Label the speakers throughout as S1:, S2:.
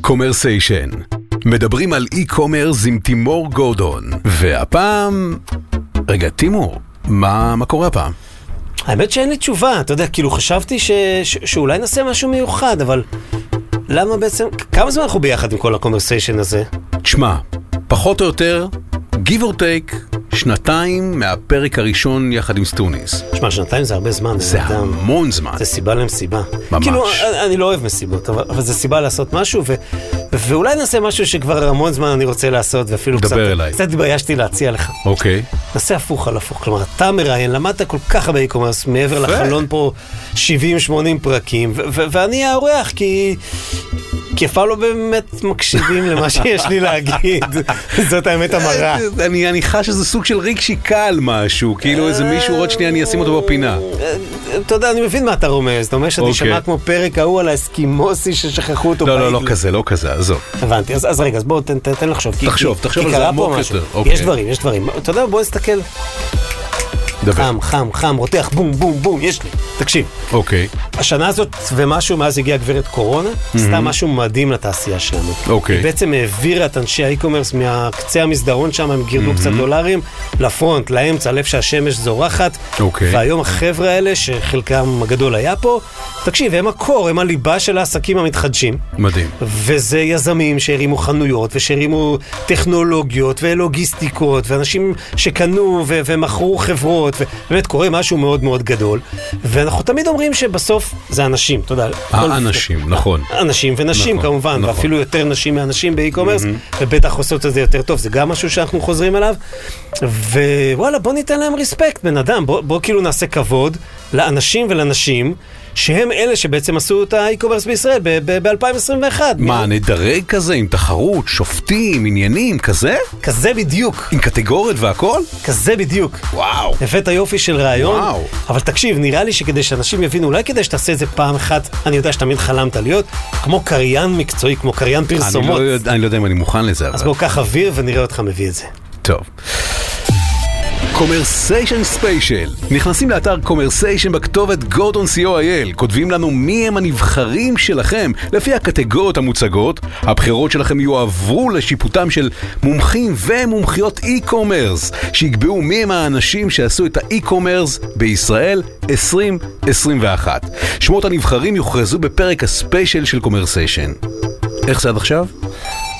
S1: קומרסיישן, מדברים על e-commerce עם תימור גורדון, והפעם... רגע, תימור, מה, מה קורה הפעם?
S2: האמת שאין לי תשובה, אתה יודע, כאילו חשבתי ש... ש... שאולי נעשה משהו מיוחד, אבל למה בעצם, כמה זמן אנחנו ביחד עם כל הקומרסיישן הזה?
S1: תשמע, פחות או יותר, give or take, שנתיים מהפרק הראשון יחד עם סטוניס.
S2: שמע, שנתיים זה הרבה זמן,
S1: זה
S2: אדם.
S1: המון זמן.
S2: זה סיבה למסיבה.
S1: ממש.
S2: כאילו, אני- אני לא אוהב מסיבות, אבל, אבל זה סיבה לעשות משהו, ו, ואולי נעשה משהו שכבר המון זמן אני רוצה לעשות, ואפילו
S1: דבר
S2: קצת...
S1: אליי.
S2: קצת התביישתי להציע לך.
S1: אוקיי.
S2: נעשה הפוך על הפוך, כלומר, אתה מראיין, למדת כל כך הרבה אי-קומרס, מעבר לחלון פה 70-80 פרקים, ו- ו- ואני האורח, כי... כי אף פעם לא באמת מקשיבים למה שיש לי להגיד, זאת האמת המרה.
S1: אני, אני חש איזה סוג של ריק שיקל משהו, כאילו איזה מישהו עוד שנייה אני אשים אותו בפינה.
S2: אה, אתה יודע, אני מבין מה אתה רומז, אתה אומר שאתה
S1: אוקיי.
S2: נשמע כמו פרק ההוא על האסקימוסי ששכחו אותו
S1: לא, לא, לא
S2: באיגלו.
S1: כזה, לא כזה, עזוב.
S2: הבנתי, אז, אז רגע, אז בואו תן, תן, תן לחשוב. כי-
S1: תחשוב,
S2: כי-
S1: תחשוב
S2: כי
S1: על זה
S2: קרה
S1: עמוק
S2: פה משהו.
S1: יותר, אוקיי.
S2: יש דברים, יש דברים. אתה יודע, בוא נסתכל.
S1: דבר.
S2: חם, חם, חם, רותח, בום, בום, בום, יש לי. תקשיב,
S1: אוקיי,
S2: השנה הזאת ומשהו מאז הגיעה גברת קורונה, עשתה משהו מדהים לתעשייה שלנו.
S1: Mm-hmm. אוקיי.
S2: היא בעצם העבירה את אנשי האי-קומרס מהקצה המסדרון שם, הם גירדו
S1: Mm-hmm.
S2: קצת דולרים, לפרונט, לאמצע, לאיפה שהשמש זורחת.
S1: אוקיי.
S2: והיום החבר'ה האלה, שחלקם הגדול היה פה, תקשיב, הם הקור, הם הליבה של העסקים המתחדשים.
S1: מדהים.
S2: וזה יזמים שהרימו חנויות, ושהרימו טכנולוגיות, ולוגיסטיקות, ואנשים שקנו ו- ומכרו חברות, ובאמת קורה משהו מאוד מאוד גדול. ואנחנו תמיד אומרים שבסוף זה אנשים, אתה יודע. כל-
S1: האנשים, נכון.
S2: אנשים ונשים
S1: נכון,
S2: נכון, כמובן,
S1: נכון.
S2: נכון. ואפילו יותר נשים מאנשים באי-קומרס, mm-hmm. ובטח עושות את זה יותר טוב, זה גם משהו שאנחנו חוזרים אליו. ווואלה, בוא ניתן להם רספקט, בן אדם, בוא, בוא כאילו נעשה כבוד לאנשים ולנשים, שהם אלה שבעצם עשו את האי-קומרס בישראל ב-2021.
S1: מה, נדרג כזה עם תחרות, שופטים, עניינים, כזה?
S2: כזה בדיוק,
S1: עם קטגוריות והכל?
S2: כזה בדיוק.
S1: וואו.
S2: הבאת יופי של רעיון,
S1: וואו.
S2: אבל תקשיב, נראה לי שכדי שאנשים יבינו, אולי כדאי שתעשה את זה פעם אחת, אני יודע שתמיד חלמת להיות, כמו קריין מקצועי, כמו קריין
S1: אני
S2: פרסומות.
S1: לא, יודע, אני לא יודע אם אני מוכן לזה,
S2: אז
S1: אבל...
S2: בוא קח אוויר ונראה אותך מביא את זה.
S1: טוב. קומרסיישן ספיישל, נכנסים לאתר קומרסיישן בכתובת gordon.co.il, כותבים לנו מי הם הנבחרים שלכם לפי הקטגוריות המוצגות, הבחירות שלכם יועברו לשיפוטם של מומחים ומומחיות e-commerce, שיקבעו מי הם האנשים שעשו את האי-קומרס בישראל 2021. שמות הנבחרים יוכרזו בפרק הספיישל של קומרסיישן. איך זה עד עכשיו?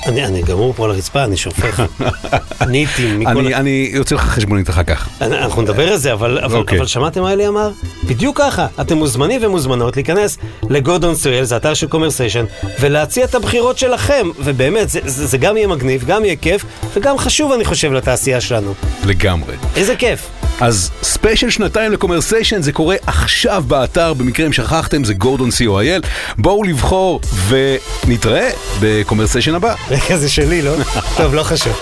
S2: אני, אני גמור פה על הרצפה, אני שופך. ניטים מכל...
S1: אני,
S2: אני,
S1: אני יוצא לך חשבונית אחר כך.
S2: אנחנו נדבר על זה, אבל, אבל,
S1: אוקיי.
S2: אבל שמעתם מה אלי אמר? בדיוק ככה. אתם מוזמנים ומוזמנות להיכנס לגודון סויאל, זה אתר של קומרסיישן, ולהציע את הבחירות שלכם. ובאמת, זה, זה, זה גם יהיה מגניב, גם יהיה כיף, וגם חשוב, אני חושב, לתעשייה שלנו.
S1: לגמרי.
S2: איזה כיף.
S1: אז ספיישל שנתיים לקומרסיישן זה קורה עכשיו באתר, במקרה אם שכחתם זה גורדון co.il. בואו לבחור ונתראה בקומרסיישן הבא.
S2: רגע, זה שלי, לא? טוב, לא חשוב.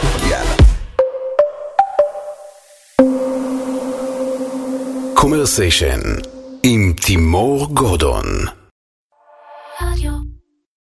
S1: קומרסיישן עם תימור גורדון